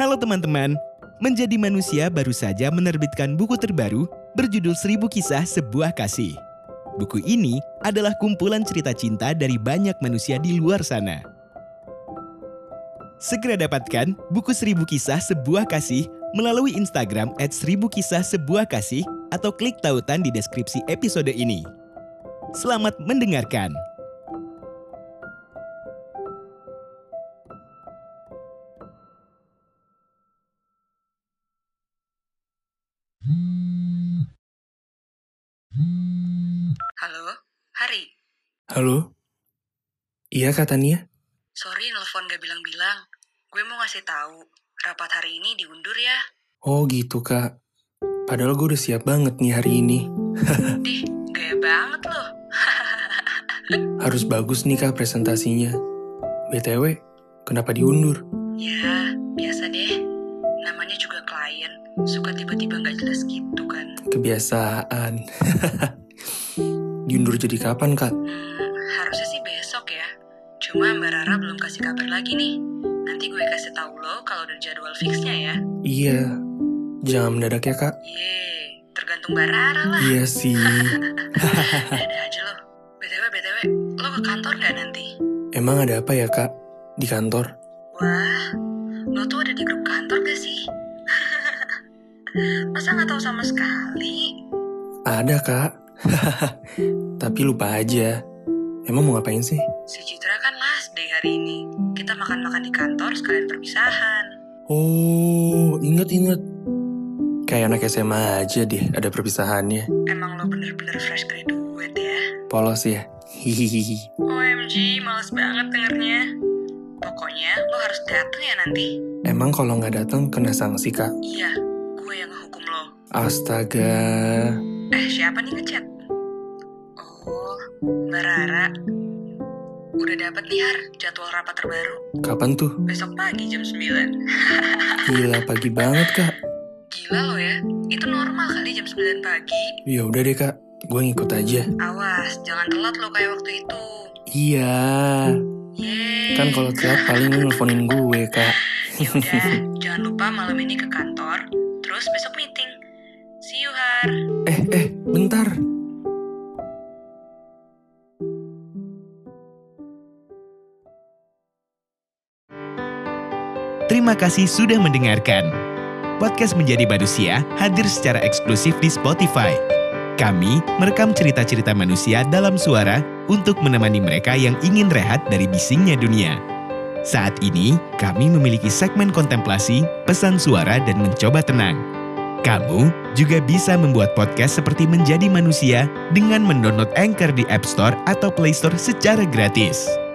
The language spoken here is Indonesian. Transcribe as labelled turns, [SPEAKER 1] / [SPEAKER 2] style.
[SPEAKER 1] Halo teman-teman, Menjadi Manusia baru saja menerbitkan buku terbaru berjudul Seribu Kisah Sebuah Kasih. Buku ini adalah kumpulan cerita cinta dari banyak manusia di luar sana. Segera dapatkan buku Seribu Kisah Sebuah Kasih melalui Instagram at Seribu Kisah Sebuah Kasih atau klik tautan di deskripsi episode ini. Selamat mendengarkan.
[SPEAKER 2] Halo, Hari.
[SPEAKER 3] Halo? Iya kak Tania?
[SPEAKER 2] Sorry nelfon gak bilang-bilang. Gue mau ngasih tahu, rapat hari ini diundur ya.
[SPEAKER 3] Oh gitu kak. Padahal gue udah siap banget nih hari ini.
[SPEAKER 2] Dih, gaya banget loh.
[SPEAKER 3] Harus bagus nih kak presentasinya. BTW, kenapa diundur?
[SPEAKER 2] Ya, biasa deh. Namanya juga klien, suka tiba-tiba gak jelas gitu kan.
[SPEAKER 3] Kebiasaan. diundur jadi kapan kak?
[SPEAKER 2] Hmm, harusnya sih besok ya. Cuma Mbak Rara belum kasih kabar lagi nih. Nanti gue kasih tahu lo kalau udah jadwal fixnya ya.
[SPEAKER 3] Iya. Jangan mendadak ya kak?
[SPEAKER 2] Ye, tergantung Mbak Rara lah.
[SPEAKER 3] Iya sih.
[SPEAKER 2] Ada aja lo. BTW, BTW, lo ke kantor gak nanti?
[SPEAKER 3] Emang ada apa ya kak? Di kantor?
[SPEAKER 2] Wah, lo tuh ada di grup kantor gak sih? Masa nggak tahu sama sekali?
[SPEAKER 3] Ada kak. Tapi lupa aja. Emang mau ngapain sih?
[SPEAKER 2] Si Citra kan last day hari ini. Kita makan-makan di kantor sekalian perpisahan.
[SPEAKER 3] Oh, inget-inget. Kayak anak SMA aja deh, ada perpisahannya.
[SPEAKER 2] Emang lo bener-bener fresh graduate ya?
[SPEAKER 3] Polos ya. Hihihi.
[SPEAKER 2] OMG, males banget dengernya. Pokoknya lo harus dateng ya nanti.
[SPEAKER 3] Emang kalau nggak datang kena sanksi kak?
[SPEAKER 2] Iya, gue yang ngehukum lo.
[SPEAKER 3] Astaga.
[SPEAKER 2] Eh, siapa nih ngechat? Oh, Mbak Rara. Udah dapet nih, Har, jadwal rapat terbaru.
[SPEAKER 3] Kapan tuh?
[SPEAKER 2] Besok pagi jam 9.
[SPEAKER 3] Gila pagi banget kak.
[SPEAKER 2] Gila lo ya, itu normal kali jam 9 pagi.
[SPEAKER 3] Ya udah deh kak, gue ngikut aja.
[SPEAKER 2] Awas, jangan telat lo kayak waktu itu.
[SPEAKER 3] Iya.
[SPEAKER 2] Yeay.
[SPEAKER 3] Kan kalau telat paling lu nelfonin gue kak.
[SPEAKER 2] Yaudah, jangan lupa malam ini ke kantor, terus besok meeting. See you, Har.
[SPEAKER 3] eh eh, bentar.
[SPEAKER 1] Terima kasih sudah mendengarkan. Podcast Menjadi Manusia hadir secara eksklusif di Spotify. Kami merekam cerita-cerita manusia dalam suara untuk menemani mereka yang ingin rehat dari bisingnya dunia. Saat ini, kami memiliki segmen kontemplasi, pesan suara, dan mencoba tenang. Kamu juga bisa membuat podcast seperti Menjadi Manusia dengan mendownload Anchor di App Store atau Play Store secara gratis.